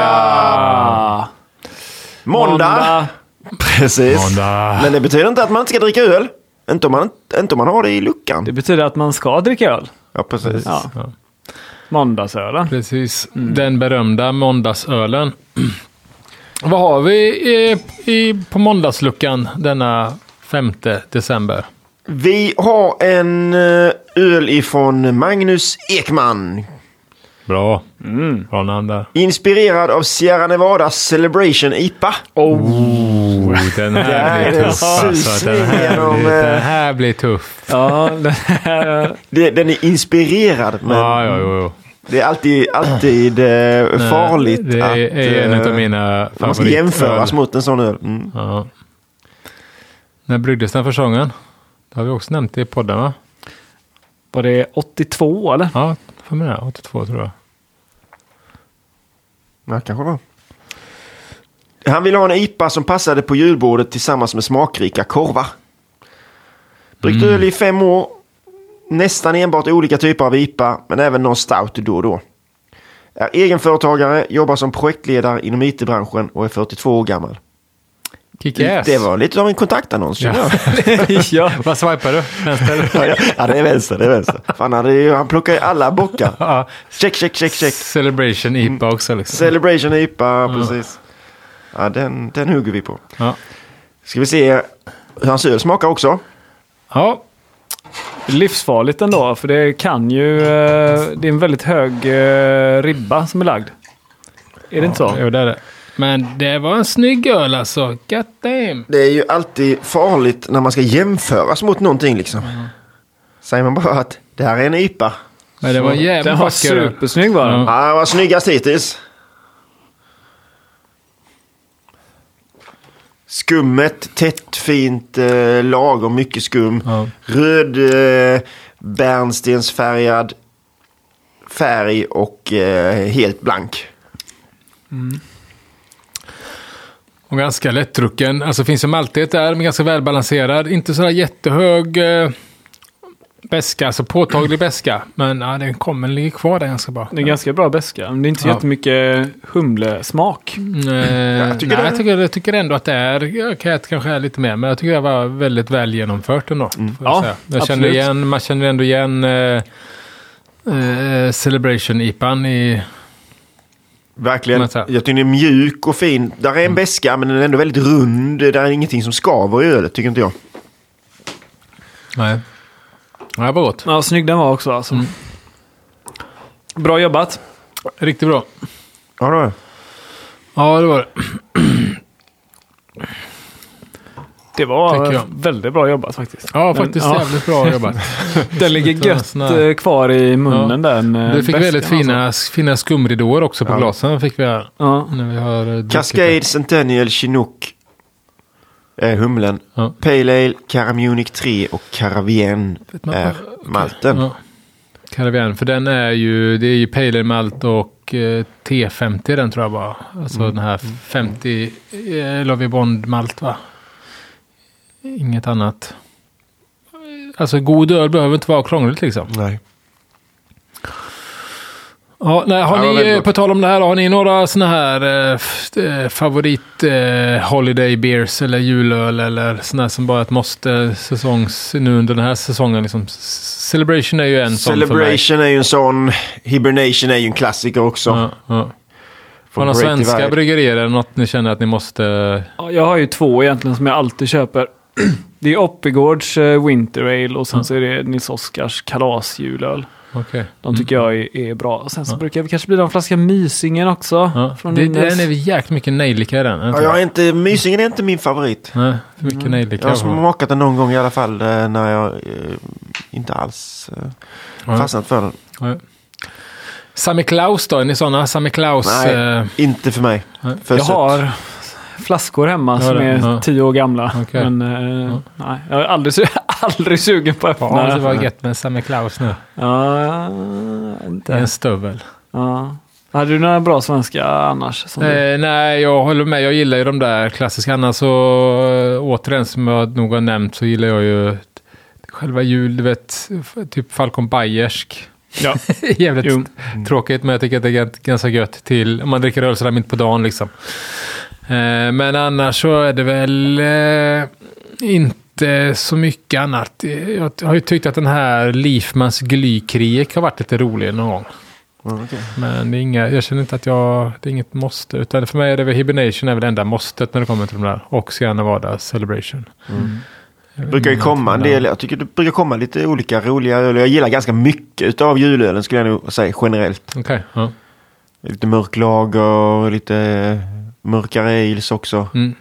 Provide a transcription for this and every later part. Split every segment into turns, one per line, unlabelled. Halleluja!
Måndag. Precis.
Måndag.
Men det betyder inte att man inte ska dricka öl. Inte om man, inte om man har det i luckan.
Det betyder att man ska dricka öl.
Ja, precis.
Ja. Måndagsölen.
Precis. Den berömda måndagsölen. Vad har vi i, i, på måndagsluckan denna 5 december?
Vi har en eh, öl ifrån Magnus Ekman.
Bra.
Mm.
Bra namn där.
Inspirerad av Sierra Nevada Celebration IPA.
Oh, den
Det här
här
är en
blir tuff alltså. Den
susning
här,
genom...
blir, den
eh,
här blir tuff.
Ja, den här,
det- Den är inspirerad, men
Ja, ja, jo, jo.
det är alltid, alltid eh, farligt
Det
att...
är en
eh,
av mina favoriter.
man ska jämföras mot en sån öl. Mm.
Ja. När bryggdes den första gången? Det har vi också nämnt i podden va?
var det 82 eller?
Ja, för mig det. 82 tror jag.
Ja, kanske då. Han ville ha en IPA som passade på julbordet tillsammans med smakrika korvar. Bryggt öl i fem år. Nästan enbart olika typer av IPA, men även någon stout då och då. Är egenföretagare, jobbar som projektledare inom IT-branschen och är 42 år gammal.
Kick-ass.
Det var lite av en kontaktannons. känner jag.
ja.
Vad swipar du? Vänster?
ja, det är vänster, det är vänster. Fan, han, är ju- han plockar ju alla bockar.
Ja.
Check, check, check, check. Mm.
Celebration IPA också liksom.
Celebration IPA, precis. Ja, den, den hugger vi på.
ja.
Ska vi se hur hans öl smakar också.
ja.
Livsfarligt ändå, för det kan ju... eh, Det är en väldigt hög eh, ribba som är lagd. Är det inte så?
Jo, det är det. Men det var en snygg öl alltså. God damn.
Det är ju alltid farligt när man ska jämföras mot någonting liksom. Säger man bara att det här är en IPA.
Men det var en jävla
Den var
vacker öl.
supersnygg var den.
Ja.
Ja, det var snyggast hittills. Skummet, tätt, fint, eh, lagom mycket skum.
Ja.
Röd eh, bärnstensfärgad färg och eh, helt blank.
Och ganska lättdrucken. Alltså finns ju maltighet där, men ganska välbalanserad. Inte sådär jättehög eh, beska, alltså påtaglig beska. Men ja, den kommer ligger kvar där ganska bra.
Det är ganska bra beska. men det är inte så
Ja.
jättemycket humlesmak.
Eh, jag,
tycker
tycker
det-
nej, jag, tycker, jag tycker ändå att det är, jag kan- kanske är lite mer, men jag tycker det var väldigt väl genomfört ändå.
Mm.
Får jag
Ja,
säga. jag känner
absolut.
igen, man känner ändå igen eh, eh, Celebration-IPan i...
Verkligen.
Men så här-
Jag tycker den är mjuk och fin. Där
Mm.
är en beska men den är ändå väldigt rund. Där är ingenting som skaver i ölet tycker inte jag.
Nej. Ja, det var gott.
Ja, snygg den var också alltså.
Mm.
Bra jobbat.
Riktigt bra.
Ja, det var det.
Ja, det var det.
Det var
Tycker
eh,
jag.
väldigt bra jobbat faktiskt.
Ja,
Den-
faktiskt
ja.
jävligt bra jobbat.
Den ligger
Utan
gött
sån här-
eh, kvar i munnen den. eh,
Du fick
beskan,
väldigt fina, fina skumridåer också på glasen. Fick vi här,
Alltså.
när vi har eh, druckit
Cascade, Centennial, Chinook. Eh, humlen.
Ja.
Pale Ale, Caramunic 3 och Caravienne
man-
är malten.
det. Ja. Karavian, för den är ju, det är ju Pale Ale Malt och eh, T50 den tror jag bara. Alltså
Mm.
den här 50 eh, Lovie Bond Malt va? Inget annat. Alltså god öl behöver inte vara krångligt liksom.
Nej.
Ja, nej, har
Ja, det var
ni,
väldigt
eh,
gott.
på tal om det här, har ni några sådana här eh, f- eh, favorit eh, holiday beers eller julöl eller sådana som bara ett måste säsongs, nu under den här säsongen? Liksom, S- Celebration är ju en sån för mig.
Celebration är ju en sån. Hibernation är ju en klassiker också.
Ja, ja. Från några
Great
svenska
Divide.
bryggerier eller något ni känner att ni måste... eh,
Ja, jag har ju två egentligen som jag alltid köper. Det är Oppigårds eh, Winter Ale och sen så är det Nils Oskars kalasjulöl.
Okej.
De tycker jag är, är bra. Och Sen så brukar vi kanske bli en flaska Mysingen också.
Ja.
Från
Det,
Nynäs.
den är vi jäkligt mycket nejlika i den. är det
Ja,
inte?
jag är inte, mysingen är inte min favorit.
Nej, för mycket nejlika.
Jag har smakat den någon gång i alla fall eh, när jag eh, inte alls eh,
Ja.
fastnat för den.
Ja. Sammy Klaus då? Är ni sådana? Sammy Klaus?
Nej,
eh,
inte för mig.
Nej.
För
Jag
sött.
har flaskor hemma
Du har
som
det?
är
Ja.
tio år gamla.
Okej.
Men eh, nej, jag är aldrig, su- aldrig sugen på att öppna.
Ja, det
Ja,
var gött med Sammy Klaus nu. Det är
inte.
en stövel.
Ja. Hade du några bra svenska annars? Som du-
Eh, nej, jag håller med. Jag gillar ju de där klassiska. Annars så eh, återigen, som jag nog har nämnt, så gillar jag ju själva jul, du vet, f- typ Falcon Bayersk.
Ja.
Jävligt
Jo.
tråkigt, men jag tycker att det är gans- ganska gött till om man dricker öl sådär mitt på dagen liksom. Eh, men annars så är det väl eh, inte så mycket annat. Jag har ju tyckt att den här Leafmans glykriek har varit lite rolig någon gång.
Ja, okej.
Men det är inga, jag känner inte att jag, det är inget måste. Utan för mig är det väl hibernation är väl det enda måstet när det kommer till de där. Och så gärna vara celebration. Eh,
Det Mm. brukar ju komma en del, jag tycker det brukar komma lite olika roliga öl. Jag gillar ganska mycket av julölen skulle jag nog säga generellt.
Okej, ja.
Lite mörk lager, lite mörkare ales också.
Mm,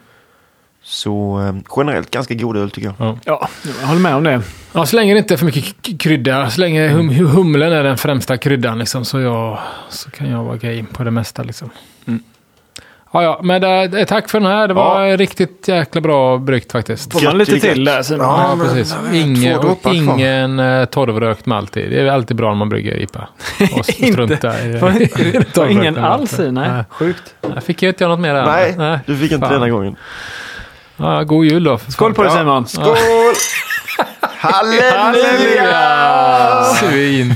Så eh, generellt ganska god öl tycker jag.
ja.
ja, jag håller med om det.
Ja, så länge det inte är för mycket k- k- krydda, så länge hum
Mm.
humlen är den främsta kryddan liksom, så, jag, så kan jag vara game på det mesta. Liksom.
Mm.
Ja, ja, men eh, tack för den här. Det var
Ja. riktigt
riktigt jäkla bra bryggt faktiskt.
Får man
Gött,
lite
gött.
till där Simon?
Ja.
Ja,
men
precis.
det var
Ingen,
två droppar
och
kvar.
ingen eh, torvrökt malt i. Det är alltid bra när man brygger IPA. Och strunta i
Var det-
torvrökt
var ingen
malt.
alls i? Nej, sjukt.
Jag fick ju inte göra något mer där.
Nej, du fick inte
Fan.
denna gången.
Ja, god jul då.
Skål på dig
Ja.
Simon!
Skål! Halleluja!
Svin.